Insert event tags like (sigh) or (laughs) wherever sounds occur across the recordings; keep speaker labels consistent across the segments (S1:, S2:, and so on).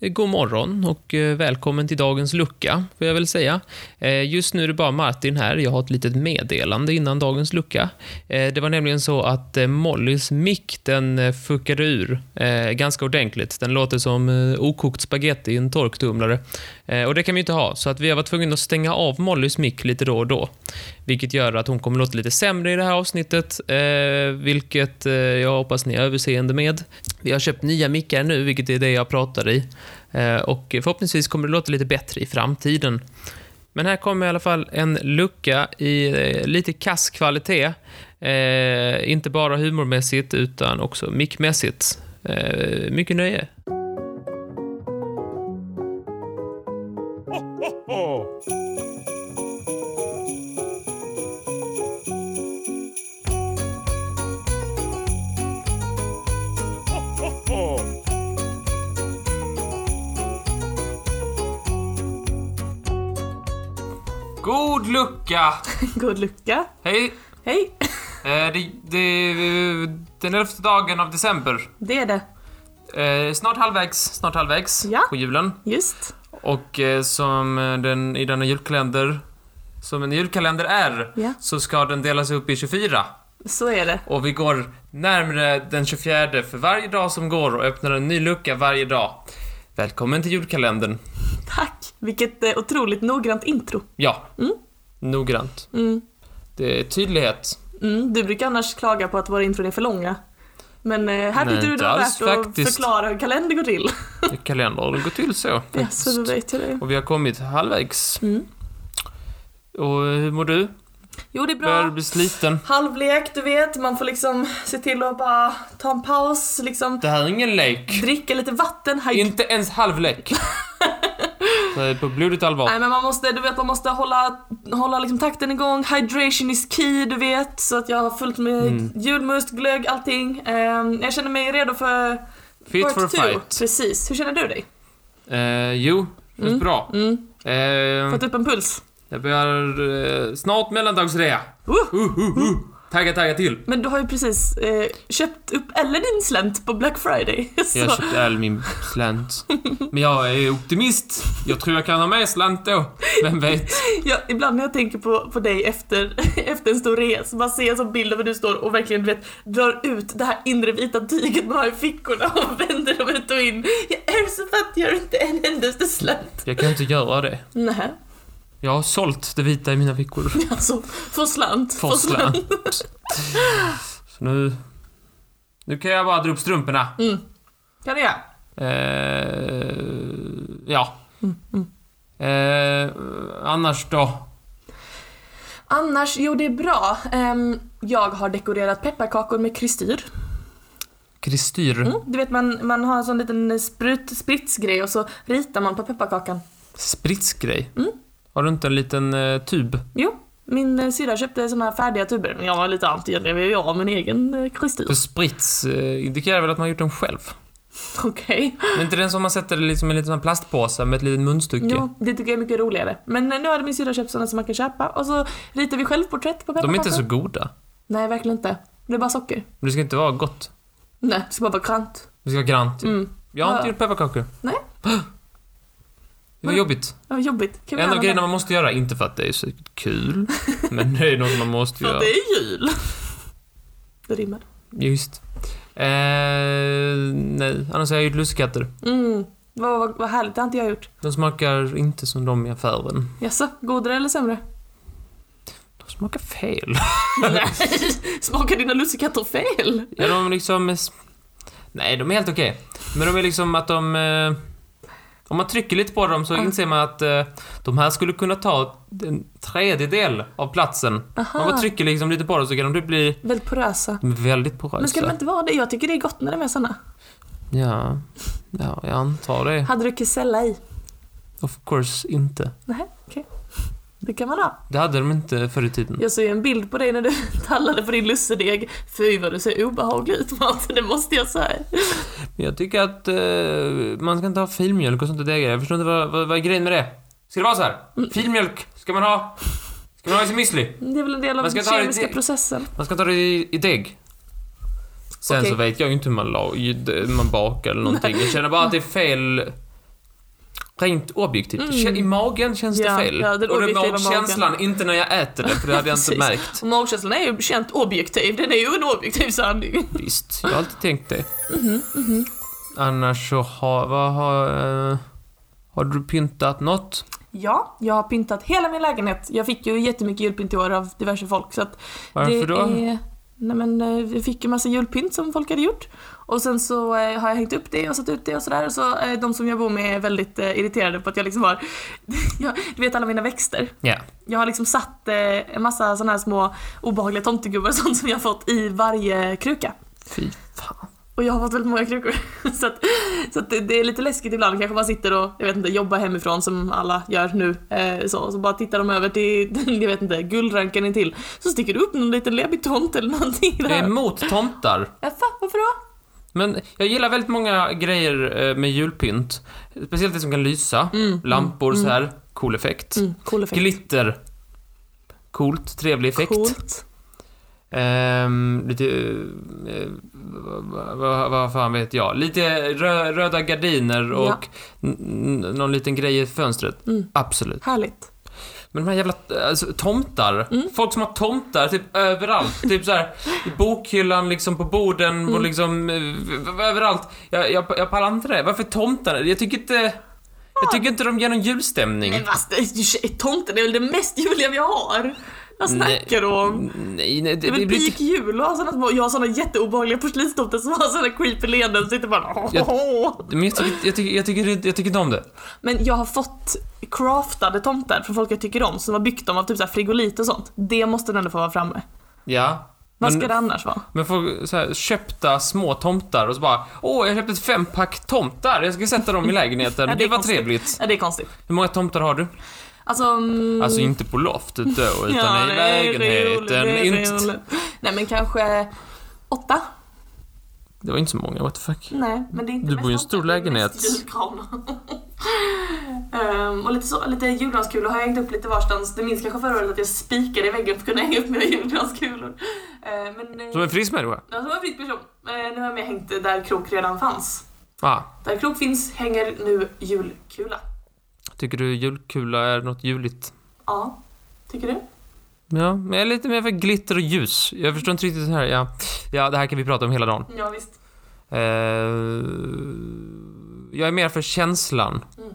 S1: Eh, God morgon och eh, välkommen till dagens lucka, får jag väl säga. Eh, Just nu är det bara Martin här. Jag har ett litet meddelande innan dagens lucka. Eh, Det var nämligen så att eh, Mollys mick, den fuckade ur eh, ganska ordentligt. Den låter som eh, okokt spagetti i en torktumlare. Eh, Och det kan vi inte ha, så att vi har varit tvungna att stänga av Mollys mick lite då och då. Vilket gör att hon kommer låta lite sämre i det här avsnittet, eh, vilket jag hoppas ni är överseende med. Vi har köpt nya mickar nu, vilket är det jag pratar i. Eh, Och förhoppningsvis kommer det låta lite bättre i framtiden. Men här kommer i alla fall en lucka i eh, lite kass kvalitet. Eh, inte bara humormässigt utan också mickmässigt. Eh, mycket nöje. God lucka!
S2: God lucka.
S1: Hej!
S2: Hej. (laughs)
S1: Eh, det, det är den elfte dagen av december.
S2: Det är det.
S1: Eh, snart halvvägs, snart halvvägs
S2: Ja.
S1: på julen.
S2: Just.
S1: Och eh, som den i denna julkalender, som en julkalender är,
S2: Ja.
S1: så ska den delas upp i 24.
S2: Så är det.
S1: Och vi går närmre den 24 för varje dag som går och öppnar en ny lucka varje dag. Välkommen till julkalendern.
S2: Tack. Vilket eh, otroligt noggrant intro.
S1: Ja,
S2: Mm.
S1: noggrant.
S2: Mm.
S1: Det är tydlighet.
S2: Mm, du brukar annars klaga på att våra intron är för långa. Men eh, här
S1: Nej,
S2: tyckte du
S1: inte
S2: det var värt
S1: alls
S2: att
S1: faktiskt.
S2: förklara hur kalender går (laughs) till.
S1: Kalendern går till så.
S2: Ja, så du vet ju det.
S1: Och vi har kommit halvvägs.
S2: Mm.
S1: Och hur mår du?
S2: Jo, det är
S1: Börjar du
S2: bra.
S1: bli sliten?
S2: Halvlek, du vet. Man får liksom se till att bara ta en paus, liksom
S1: Det här är ingen lek.
S2: dricka lite vatten. Hike.
S1: Inte ens
S2: (laughs)
S1: halvlek. Det är på blodigt allvar.
S2: Nej men man måste, du vet man måste hålla, hålla liksom takten igång, hydration is key du vet. Så att jag har fullt med
S1: Mm.
S2: julmust, glögg, allting. Ehm, jag känner mig redo för
S1: Fit
S2: part
S1: for a
S2: two.
S1: fight.
S2: Precis, hur känner du dig?
S1: Eh, jo, känns bra.
S2: Mm.
S1: Eh,
S2: Fått upp en puls?
S1: jag börjar eh, snart mellandagsrea.
S2: Uh!
S1: Uh, uh, uh. Tagga, tagga till.
S2: Men du har ju precis eh, köpt upp eller din slänt på Black Friday. (laughs) Så,
S1: Jag köpte all min slant. Men jag är optimist. Jag tror jag kan ha med slant då. Vem vet?
S2: ja, ibland när jag tänker på, på dig efter, (laughs) efter en stor resa, man ser en sån bild av hur du står och verkligen du vet, drar ut det här inre vita tyget man har i fickorna (laughs) och vänder dem ut och in. Jag är så fattig, jag har inte en endaste slänt.
S1: Jag kan inte göra det.
S2: Nej,
S1: Jag har sålt det vita i mina fickor.
S2: (laughs) alltså, få slant.
S1: För slant. Så nu... Nu kan jag bara dra upp strumporna.
S2: Kan jag?
S1: Eh, ja. Eh, annars då?
S2: Annars, jo det är bra. Ehm, jag har dekorerat pepparkakor med kristyr.
S1: Kristyr.
S2: Mm, du vet man, man har en sån liten sprut, spritsgrej och så ritar man på pepparkakan.
S1: Spritsgrej.
S2: Mm.
S1: Har du inte en liten eh, tub?
S2: Jo, min eh, syrra köpte såna här färdiga tuber. Men Jag var lite anti det, men jag har min egen eh,
S1: För
S2: kristyr.
S1: sprits eh, indikerar väl att man har gjort den själv?
S2: (laughs) Okej.
S1: Men inte den som man sätter liksom i en liten sån här plastpåse med ett litet munstycke?
S2: Jo, det tycker jag är mycket roligare. Men eh, nu hade min syrra köpt såna som man kan köpa och så ritar vi självporträtt på
S1: De
S2: pepparkakor.
S1: är inte så goda.
S2: Nej, verkligen inte. Det är bara socker.
S1: Men det ska inte vara gott.
S2: Nej, det ska bara vara krant.
S1: Det ska vara grant. typ.
S2: Mm.
S1: Jag har
S2: Ja.
S1: inte gjort pepparkakor. (gasps)
S2: Nej.
S1: Det var
S2: Men-
S1: jobbigt.
S2: Ja, vad jobbigt. Kan vi
S1: En av
S2: göra
S1: grejerna
S2: något?
S1: man måste göra, inte för att det är så kul, men det är något man
S2: (laughs)
S1: måste
S2: För
S1: göra.
S2: att det är jul. Det rimmar.
S1: Just. Eh, nej, annars har jag gjort lussekatter.
S2: Mm. Vad, vad, vad härligt, det har inte jag gjort.
S1: De smakar inte som de i affären.
S2: Jaså, godare eller sämre?
S1: (laughs) De smakar fel. (laughs)
S2: Nej, smakar dina lussekatter fel?
S1: Ja, de liksom... är s- Nej, de är helt okej. Men de är liksom att de... Eh, om man trycker lite på dem så
S2: Ah.
S1: inser man att eh, de här skulle kunna ta en tredjedel av platsen. Man bara
S2: Aha,
S1: trycker liksom lite på dem så kan de bli
S2: väldigt porösa.
S1: väldigt porösa.
S2: Men ska de inte vara det? Jag tycker det är gott när de är såna.
S1: Ja, ja, jag antar det.
S2: Hade du kesella i?
S1: Of course inte.
S2: Nej, okej. Det kan man ha.
S1: Det hade de inte förr i tiden.
S2: Jag såg ju en bild på dig när du (laughs) tallade på din lussedeg. Fy vad du ser obehaglig ut Martin, det måste jag säga.
S1: Men jag tycker att eh, man ska inte ha filmjölk och sånt i degar. Jag förstår inte vad, vad, vad är grejen med det. Ska det vara så här?
S2: Mm.
S1: Filmjölk ska man ha. Ska man ha i sin müsli.
S2: Det är väl en del av
S1: Man ska
S2: den
S1: ta det
S2: kemiska
S1: till-
S2: processen.
S1: Man ska ta det i, i deg. Sen
S2: Okej.
S1: så vet jag ju inte hur man, la, ju- man bakar eller någonting. Jag känner bara att det är fel Rent objektivt. Kä- I magen känns
S2: Mm. Ja,
S1: det fel.
S2: ja, den
S1: och det
S2: objektiva
S1: var
S2: magen.
S1: känslan, inte när jag äter det, för det hade jag inte
S2: Precis.
S1: märkt.
S2: Och magkänslan är ju känt objektiv, den är ju en objektiv sanning.
S1: Visst, jag har alltid tänkt det. Annars så har... Vad har... eh, har du pyntat något?
S2: Ja, jag har pyntat hela min lägenhet. Jag fick ju jättemycket julpynt i år av diverse folk. Så att
S1: Varför
S2: det
S1: då?
S2: Är... Nej men eh, jag fick ju massa julpynt som folk hade gjort. Och sen så eh, har jag hängt upp det och satt ut det och sådär. Och så eh, de som jag bor med är väldigt eh, irriterade på att jag liksom har, (laughs) jag, du vet alla mina växter.
S1: Ja.
S2: Jag har liksom satt eh, en massa sådana här små obehagliga tomtegubbar och sånt som jag har fått i varje kruka.
S1: Fy fan.
S2: Och jag har fått väldigt många krukor. (laughs) Så, att, så att det, det är lite läskigt ibland. Kanske man sitter och jag vet inte, jobbar hemifrån som alla gör nu. Eh, så, så bara tittar de över till, (laughs) jag vet inte, guldranken intill. Så sticker det upp någon liten läbbig tomt eller någonting
S1: Jag är
S2: där.
S1: emot tomtar.
S2: Ja, fan, varför då?
S1: Men jag gillar väldigt många grejer eh, med julpynt. Speciellt det som kan lysa. Mm. Lampor så här. Cool effekt.
S2: Mm, cool effekt.
S1: Glitter. Coolt, trevlig effekt.
S2: Coolt.
S1: Ehm, lite... eh, vad- vad- Vad vad fan vet jag? Lite rö, röda gardiner och
S2: Ja.
S1: n- n- någon liten grej i fönstret. Absolut.
S2: Mm. Härligt.
S1: Men de här jävla alltså, tomtar.
S2: Mm.
S1: Folk som har tomtar typ överallt. typ så här, i bokhyllan, liksom på borden, och
S2: Mm.
S1: liksom, eh, v- v- överallt. Jag, jag, jag pallar inte det. Varför tomtar? Jag tycker inte... Jag tycker inte de ger någon julstämning.
S2: Men vad, tomten är väl det mest juliga vi har? Vad snackar du om?
S1: Nej, nej, det,
S2: Det är
S1: det
S2: väl
S1: blir
S2: peak
S1: inte...
S2: jul och ha såna små, jag har såna jätteobehagliga porslinstomtar som har såna creepy leenden som sitter bara (laughs)
S1: Men jag tycker, jag, tycker, jag, tycker, inte- jag tycker inte om det.
S2: Men jag har fått craftade tomtar från folk jag tycker om som har byggt dem av typ så här frigolit och sånt. Det måste den ändå få vara framme.
S1: Ja.
S2: Vad
S1: Men,
S2: ska det annars vara?
S1: men folk så här, köpta små tomtar och så bara Åh, jag köpte ett fempack tomtar. Jag ska sätta dem i lägenheten.
S2: (laughs) Ja, det
S1: det
S2: är
S1: var
S2: konstigt.
S1: trevligt.
S2: Ja, det är konstigt.
S1: Hur många tomtar har du?
S2: Alltså... Mm,
S1: Alltså inte på loftet då, utan i
S2: det är roligt, det
S1: lägenheten.
S2: är
S1: inte,
S2: roligt. Nej men kanske åtta?
S1: det var inte så många, what the fuck.
S2: Nej, men det är inte
S1: Du
S2: mest
S1: bor i en stor
S2: tomtar, det är mest
S1: lägenhet.
S2: julgranar. (laughs) Ehm, och lite, så, lite julgranskulor har jag hängt upp lite varstans. Du minns kanske förra året att jag spikade i väggen för att kunna hänga upp mina julgranskulor. Ehm, men, eh,
S1: Som en frisk människa?
S2: Ja, som en frisk person. Ehm, nu har jag med hängt där krok redan fanns.
S1: Ah,
S2: Där krok finns hänger nu julkula.
S1: tycker du julkula är något juligt?
S2: Ja, tycker du?
S1: Ja, men jag är lite mer för glitter och ljus. Jag förstår inte riktigt det här. Ja, ja det här kan vi prata om hela dagen.
S2: Ja, visst.
S1: Eh, jag är mer för känslan.
S2: Mm.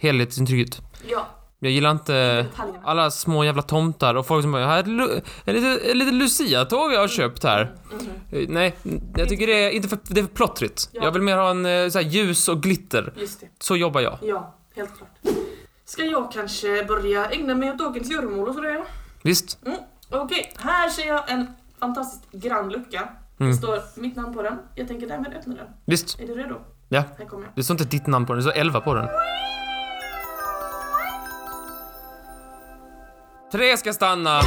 S1: Helhetsintrycket.
S2: Ja,
S1: Jag gillar
S2: Eh,
S1: inte
S2: detaljerna.
S1: alla små jävla tomtar och folk som bara, här är ett lu- ett litet, ett litet Lucia-tåg jag har köpt här.
S2: Mhm,
S1: Eh, Nej, n- jag tycker det är inte för, det är för plottrigt.
S2: Ja.
S1: Jag vill mer ha en eh, så här, ljus och glitter.
S2: just det.
S1: Så jobbar jag.
S2: Ja, helt klart. Ska jag kanske börja ägna mig åt dagens göromål och sådär?
S1: Visst?
S2: Mm. Okej, här ser jag en fantastiskt grann lucka.
S1: Mm.
S2: Det står mitt namn på den. Jag tänker därmed öppna den.
S1: Visst?
S2: Är du redo?
S1: Ja.
S2: Här kommer jag.
S1: Det står inte ditt namn på den, det står 11 på den. Tre ska stanna!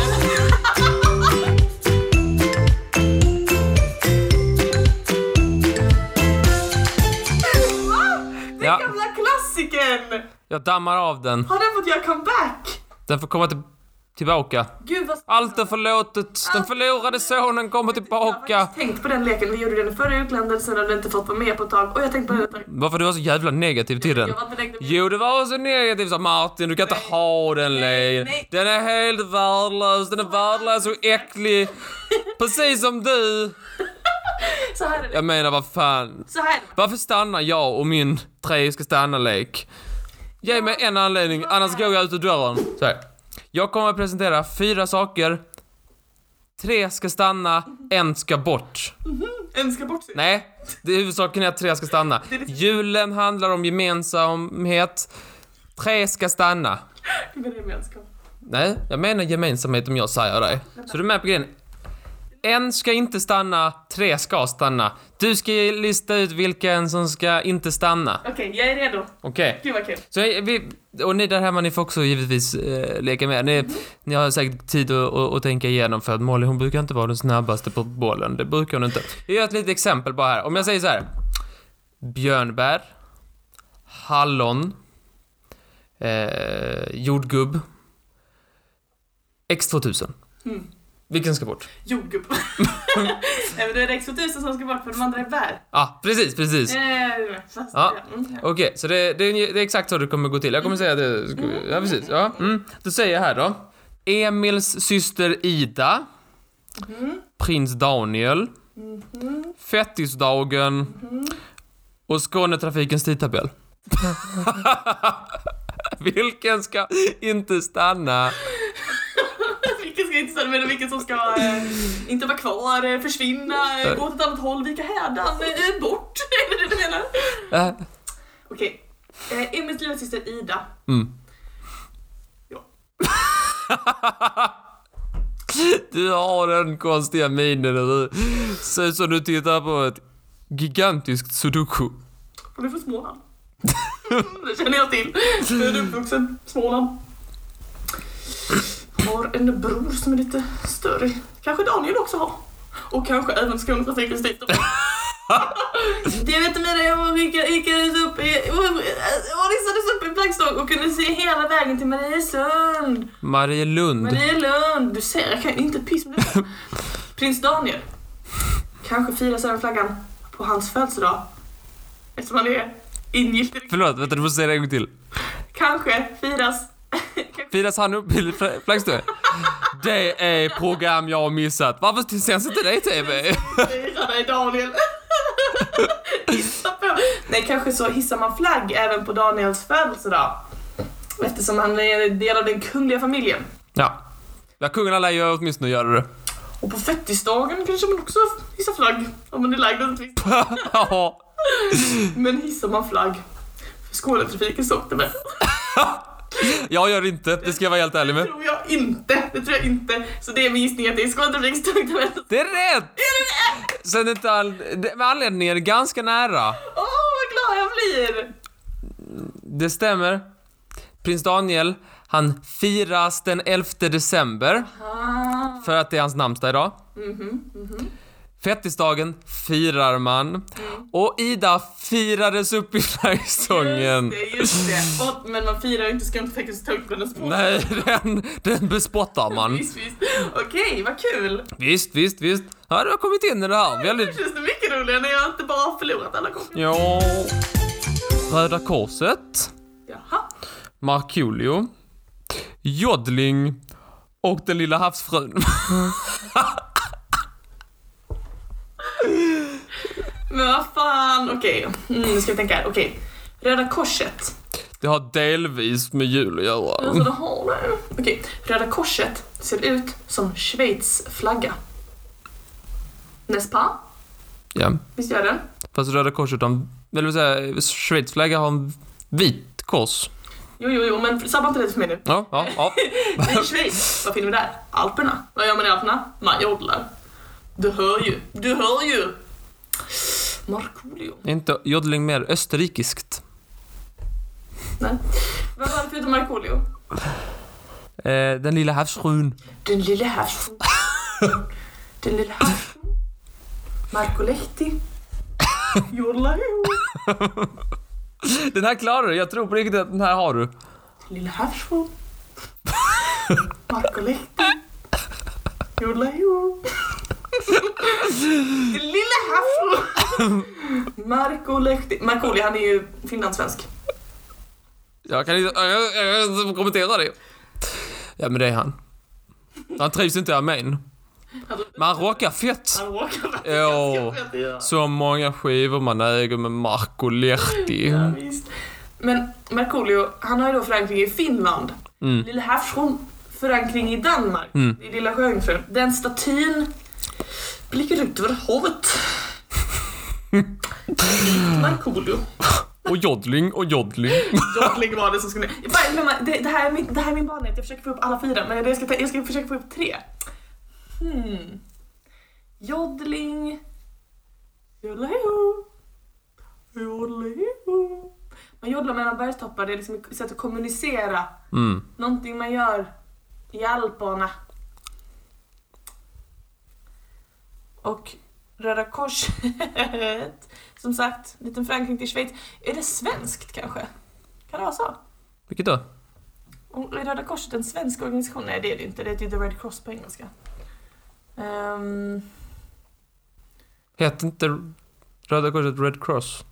S2: Ah!
S1: Ja,
S2: Gamla klassikern!
S1: jag dammar av den.
S2: Har den fått göra comeback?
S1: Den får komma till, tillbaka.
S2: Gud vad
S1: Allt är förlåtet. Den förlorade sonen kommer
S2: Jag har
S1: tillbaka.
S2: faktiskt tänkt på den leken, vi gjorde den i förra julkalendern, sen har den inte fått vara med på ett tag. Och jag tänkte på den ett tag.
S1: Varför du var så jävla negativ till den?
S2: Jag var inte direkt med.
S1: Jo, det var så negativt sa Martin, du kan inte ha den längre.
S2: nej.
S1: Den är helt värdelös, den är värdelös och äcklig. Precis som du.
S2: Så här är det.
S1: Jag menar, vad fan.
S2: Så här är det.
S1: Varför stannar jag och min tre ska stanna-lek? Ge mig en anledning, annars går jag ut ur dörren. Så här. Jag kommer att presentera fyra saker. Tre ska stanna, en ska bort.
S2: Önska bort sig.
S1: Nej, det är huvudsaken är att tre ska stanna. Julen handlar om gemensamhet. Tre ska stanna.
S2: Det är gemenskap.
S1: Nej, jag menar gemensamhet om jag säger det. Så du är med på grejen? En ska inte stanna, tre ska stanna. Du ska lista ut vilken som ska inte stanna.
S2: Okej, jag är redo.
S1: Okej.
S2: Gud vad kul.
S1: Så eh, vi, och ni där hemma, ni får också givetvis eh, leka med. Ni, ni har säkert tid att, att, att tänka igenom för att Molly hon brukar inte vara den snabbaste på bollen. Det brukar hon inte. Jag gör ett litet exempel bara här. Om jag säger så här. Björnbär. Hallon. Eh, jordgubb. X2000. Vilken ska bort? (laughs)
S2: Jordgubb. Nej men då är det X2000 som ska bort för de andra är bär.
S1: Ja, precis, precis.
S2: Eh, fast,
S1: Ja.
S2: mm, ja.
S1: Okej, så det, det, är ju- det är exakt så det kommer gå till. Jag kommer säga det. Ja, precis. Ja, mm. Då säger jag här då. Emils syster Ida. Prins Daniel. Fettisdagen. Och Skånetrafikens tidtabell. (laughs) Vilken ska inte stanna?
S2: (laughs) vilken ska inte stanna med vilken som ska eh, inte vara kvar, eh, försvinna, eh, gå åt ett annat håll, vika hädan, eh, bort. (laughs) är det det du menar?
S1: Äh,
S2: Okej. Eh, Emils lillasyster Ida.
S1: Mm.
S2: Ja.
S1: Du har den konstiga minen där du ser ut som du tittar på ett gigantiskt sudoku.
S2: Hon är från Småland. (laughs) Mm, det känner jag till. Född och uppvuxen Småland. Har en bror som är lite större. Kanske Daniel också har. Och kanske även Skånetrafikens tidtabell. Det vet Mira, (laughs) jag var skickad- skickades upp i, och listades upp i Blackstock och kunde se hela vägen till Marielund.
S1: Marielund.
S2: Marielund! Du ser, jag kan inte piss med detta. Prins Daniel. Kanske firas även flaggan på hans födelsedag. Eftersom han är ingiftig.
S1: Förlåt, vänta du får säga det en gång till.
S2: Kanske firas... (laughs) Kanske-
S1: Firas han upp i fl- flaggstång? Det är program jag har missat. Varför sänds inte det i TV?
S2: Fira dig Daniel! (laughs) Hissa på. Nej, kanske så hissar man flagg även på Daniels födelsedag. Eftersom han är en del av den kungliga familjen.
S1: Ja. Ja, kungarna lär ju åtminstone göra det. (laughs)
S2: Och på fettisdagen kanske man också hissar flagg. Om man är lagd åt ett visst
S1: Ja.
S2: Men hissar man flagg för Skånetrafikens åkte
S1: Jag gör det inte, det ska jag vara helt ärlig
S2: Det
S1: med.
S2: tror jag inte. Det tror jag inte. Så det är min gissning att det är Skånetrafikens åkte
S1: Det är rätt! Sen är inte all... det- Med anledningen är ganska nära.
S2: Åh, vad glad jag blir!
S1: Det stämmer. Prins Daniel, han firas den 11 december
S2: Ah.
S1: för att det är hans namnsdag idag.
S2: Mhm,
S1: Fettisdagen firar
S2: Mm.
S1: man och Ida firades upp i flaggstången.
S2: Just det, just det. Och, men man firar ju inte Skånetrafikens åkte på
S1: Nej, den, den bespottar man.
S2: Visst, visst. Okej, vad kul!
S1: Visst, visst, visst. Ja, du har kommit in i det här
S2: Nu
S1: väldigt...
S2: känns det mycket roligare när jag inte bara har förlorat alla gånger.
S1: Ja. Röda Korset,
S2: Jaha.
S1: Markoolio, Jodling och den lilla havsfrun.
S2: Men vad fan, okej. Mm, nu ska vi tänka här. Okej. Röda Korset.
S1: Det har delvis med jul att göra.
S2: Alltså, det har det. Okej. Röda Korset ser ut som Schweiz flagga. N'est-ce pas?
S1: Ja.
S2: Visst gör den?
S1: Fast Röda Korset har en, eller vill säga, Schweiz flagga har en vit kors.
S2: Jo, jo, jo, men sabba inte det för mig nu.
S1: Ja, ja, ja.
S2: I Schweiz, vad finner vi där? Alperna. Vad gör man i Alperna? Man jodlar. Du hör ju. Du hör ju! Markoolio.
S1: Är inte jodling mer österrikiskt?
S2: Nej. Vad var det förutom Markoolio?
S1: Eh, den lilla havsfrun.
S2: Den lille havsfrun. Den lille havsfrun. Marco Lehti. Jodlar ju.
S1: Den här klarar du, jag tror på riktigt att den här har du.
S2: Den lille (laughs) havsfrun. Marco Lehti. Jodlar ju. Den lille havsfrun. Marco Lehti. Markoolio, han är ju finlandssvensk.
S1: Jag kan inte, jag, jag, jag, kan inte kommentera det. Ja men det är han. Han trivs inte i armén. Men han rockar fett.
S2: Han råkar vara
S1: Åh.
S2: ganska fet, ja.
S1: Så många skivor man äger med Marco Lehti.
S2: Ja, visst. Men Markoolio, han har ju då förankring i Finland.
S1: Mm.
S2: Lilla Havsron förankring i Danmark.
S1: Mm.
S2: I Lilla Sjöjungfrun. Den statyn blickar ut över
S1: (laughs)
S2: havet. Markoolio.
S1: Och jodling och jodling.
S2: Jag var det som skulle... Jag bara glömma, det, det, här är min, det här är min barnhet, jag försöker få upp alla fyra. Men jag ska, ta, jag ska försöka få upp tre. Hmm. Jodling. Jodleho. Jodleho. Man jodlar mellan bergstoppar, det är liksom ett sätt att kommunicera.
S1: Mm.
S2: Någonting man gör i Alperna. Och Röda Korset. (laughs) Som sagt, liten förankring till Schweiz. Är det svenskt kanske? Kan det vara så?
S1: Vilket då?
S2: typ Och Är Röda Korset en svensk organisation? Nej, det är det inte. Det heter ju The Red Cross på engelska. Ehm,
S1: Hette inte Röda Korset Red Cross?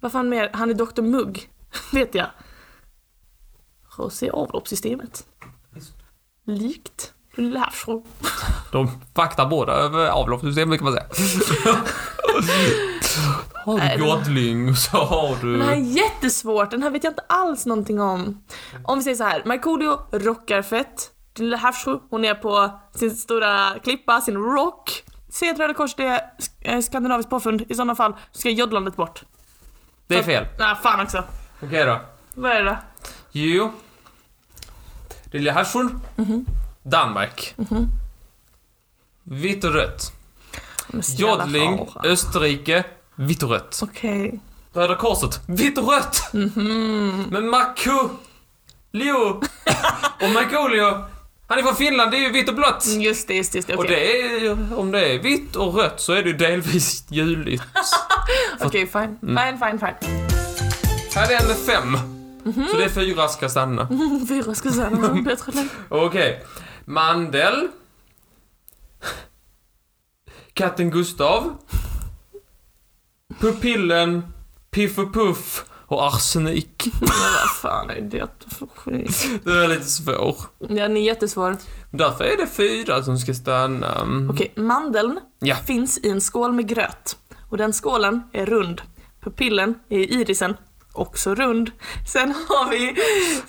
S2: vad fan mer? Han är Dr Mugg, (laughs) vet jag. José avloppssystemet. Likt Lavrov.
S1: De vaktar båda över avloppssystemet kan man
S2: (laughs)
S1: säga. har
S2: Nej,
S1: du
S2: det-
S1: Godling och så har du...
S2: Den här är jättesvårt, den här vet jag inte alls någonting om. Om vi säger så här, Markoolio rockar fett. Lavrov, hon är på sin stora klippa, sin rock. Säg att Röda Korset är eh, skandinaviskt påfund, i sådana fall så ska joddlandet bort.
S1: Det är fel.
S2: Nej, fan också.
S1: Okej då.
S2: Vad är det då?
S1: Jo. Lilla Hertsund.
S2: Mhm.
S1: Danmark. Vitt och rött.
S2: Men snälla
S1: Jodling,
S2: rara.
S1: Österrike, vitt och rött.
S2: Okej.
S1: Röda Korset, vitt och rött! Men Marco, Leo och Markoolio, han är från Finland, det är ju vitt och blått.
S2: Mm, Just det, just det. Just det.
S1: Och
S2: Okej,
S1: det är, om det är vitt och rött så är det ju delvis juligt.
S2: Okej, fine.
S1: Mm.
S2: fine. Fine, fine,
S1: Här är ändå fem. Så det är fyra ska stanna.
S2: (laughs) Mhm. Fyra ska säga något om bättre läge.
S1: Okej. Mandel. Katten Gustav. Pupillen. Piff och Puff. Och arsenik.
S2: Men vad fan är det för skit?
S1: Den är lite svår.
S2: Ja, ni är jättesvår.
S1: Därför är det fyra som ska stanna.
S2: Okej, mandeln
S1: Ja.
S2: finns i en skål med gröt. Och den skålen är rund. Pupillen är i irisen. Också rund. Sen har vi,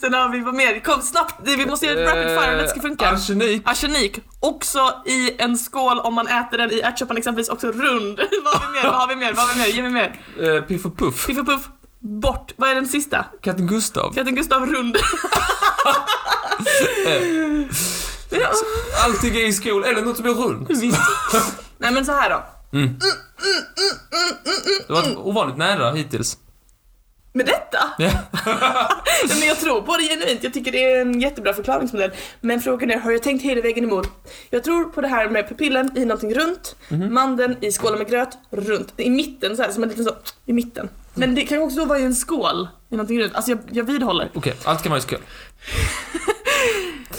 S2: sen har vi vad mer? Kom snabbt, vi måste göra ett rapid fire om det ska funka.
S1: Eh, Arsenik.
S2: Arsenik, också i en skål om man äter den i ärtsoppan exempelvis, också rund. (laughs) Vad har vi mer? Vad har vi mer? Vad har vi mer? Ge mig mer.
S1: Eh, Piff och Puff.
S2: Piff och Puff, bort. Vad är den sista?
S1: Katten Gustav.
S2: Katten
S1: (laughs)
S2: Gustav Rund. Ja,
S1: Allting är i skol. Är det något som är runt?
S2: visst. Nej men så här då.
S1: Det var ovanligt nära hittills.
S2: Med detta?
S1: Ja.
S2: (laughs) Nej, men jag tror på det genuint. Jag tycker det är en jättebra förklaringsmodell. Men frågan är, har jag tänkt hela vägen emot? Jag tror på det här med pupillen i någonting runt,
S1: Mhm.
S2: mandeln i skålen med gröt, runt. I mitten så här, som en liten så, i mitten. Men det kan ju också då vara i en skål i någonting runt. Alltså jag, jag vidhåller.
S1: Okej, allt kan vara i skål.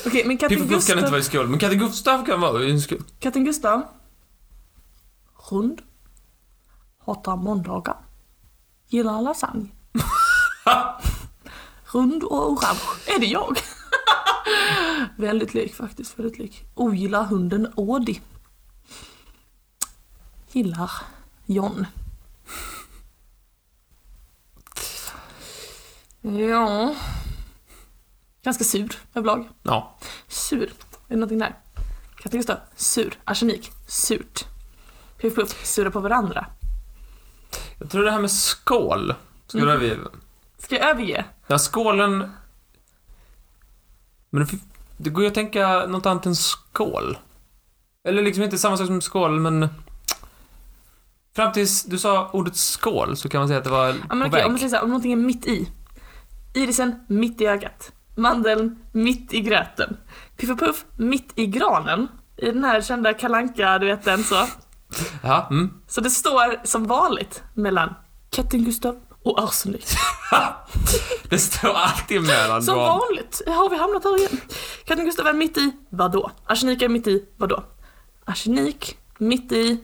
S2: Okej, men
S1: Piff
S2: katten
S1: och Puff kan Typ inte
S2: Gustav,
S1: vara i skål, men katten Gustav kan vara i en skål.
S2: katten Gustav, rund, hatar måndagar, gillar lasagne. (laughs) Rund och orange. Är det jag? (laughs) väldigt lik faktiskt, väldigt lik. Ogillar hunden Audi. Gillar John. Ja. Ganska sur överlag.
S1: Ja.
S2: Sur. Är det någonting där? Katten Gustav. Sur. Arsenik. Surt. Piff Puff. Sura på varandra.
S1: Jag tror det här med skål skulle
S2: Mm.
S1: vi...
S2: Ska jag överge?
S1: Ja, skålen... Men det, fi- det går ju att tänka något annat än skål. Eller liksom inte samma sak som skål, men... Fram tills du sa ordet skål så kan man säga att det var
S2: Ja, men
S1: på
S2: okej,
S1: väg.
S2: om, vi säger så här, om någonting är mitt i. Irisen mitt i ögat. Mandeln mitt i gröten. Piff och Puff mitt i granen. I den här kända kalanka du vet den så.
S1: Ja, mm.
S2: Så det står som vanligt mellan katten Gustav och arsenik.
S1: Det står alltid mellan
S2: Som
S1: dem.
S2: vanligt har vi hamnat här igen. Katten Gustav är mitt i vadå? Arsenik är mitt i vadå? Arsenik mitt i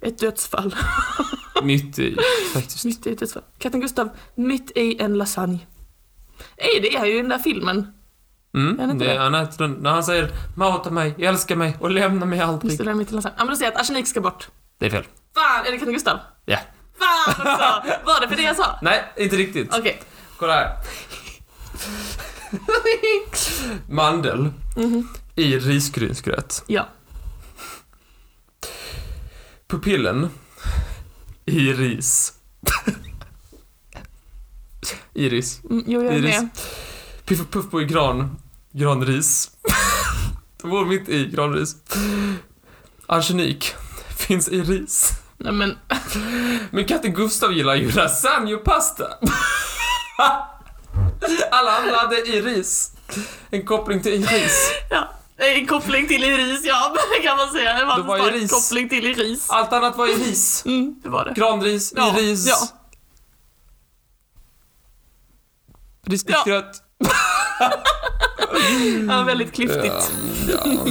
S2: ett dödsfall. (laughs)
S1: Mitt i, faktiskt.
S2: Mitt i ett dödsfall. Katten Gustav mitt i en lasagne. Ey, det är ju i den där filmen. Är det
S1: Mm,
S2: inte
S1: det,
S2: det?
S1: han äter den. När han säger mata mig, älska mig och lämna mig
S2: Just det,
S1: aldrig.
S2: där mitt i lasagne. Ja men då säger jag att arsenik ska bort.
S1: Det är fel.
S2: Fan, är det katten Gustav?
S1: Ja.
S2: Fan också! Var det för det jag sa?
S1: Nej, inte riktigt.
S2: Okej.
S1: Kolla här. Mandel i risgrynsgröt.
S2: Ja.
S1: Pupillen i ris. (laughs) Iris.
S2: Mm, jo, jag är
S1: Iris.
S2: med.
S1: Piff och Puff på i gran. Granris. (laughs) De bor mitt i granris. Arsenik finns i ris.
S2: Nej men,
S1: Men katten Gustav gillar ju lasagne och pasta. (laughs) Alla andra hade i ris. En koppling till i ris.
S2: ja. En koppling till Iris, ja (laughs) kan man säga. Det var,
S1: Det var
S2: en stark
S1: Iris.
S2: koppling till Iris.
S1: Allt annat var i ris.
S2: Mm, det var det.
S1: Granris,
S2: Ja,
S1: i ris.
S2: ja.
S1: Risgrynsgröt.
S2: Ja, väldigt klyftigt.
S1: Ja, ja.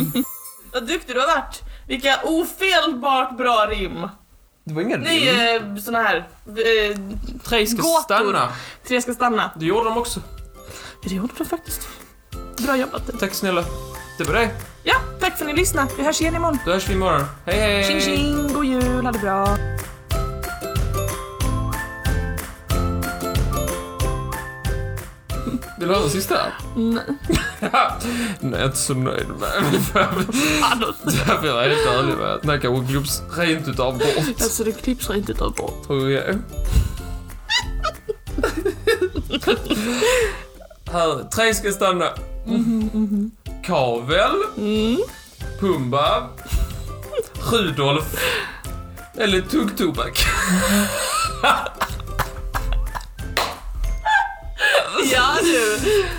S2: (laughs) Vad duktig du har varit. Vilka ofelbart bra rim.
S1: Det var inga
S2: Nej,
S1: rim.
S2: eh, såna här. Eh,
S3: Tre ska
S2: Gåtor.
S3: stanna.
S2: tre ska stanna.
S1: Det gjorde de också.
S2: Det gjorde du faktiskt. Bra jobbat.
S1: Tack snälla. Det var det.
S2: Ja, tack för att ni lyssnade. Vi hörs igen imorgon.
S1: Då hörs vi imorgon. Hej hej!
S2: Tjing tjing, god jul, ha det bra.
S1: Vill du höra den sista? (laughs)
S2: Nej.
S1: Nej, jag är inte så nöjd (laughs) med.
S2: Anders.
S1: Därför är jag helt ärlig med att den här kanske klipps rent utav bort.
S2: Alltså det klipps rent utav bort.
S1: Tror jag. Här, tre ska stanna. Kavel. Pumba. Rudolf. Eller tuggtobak.
S2: Ja du.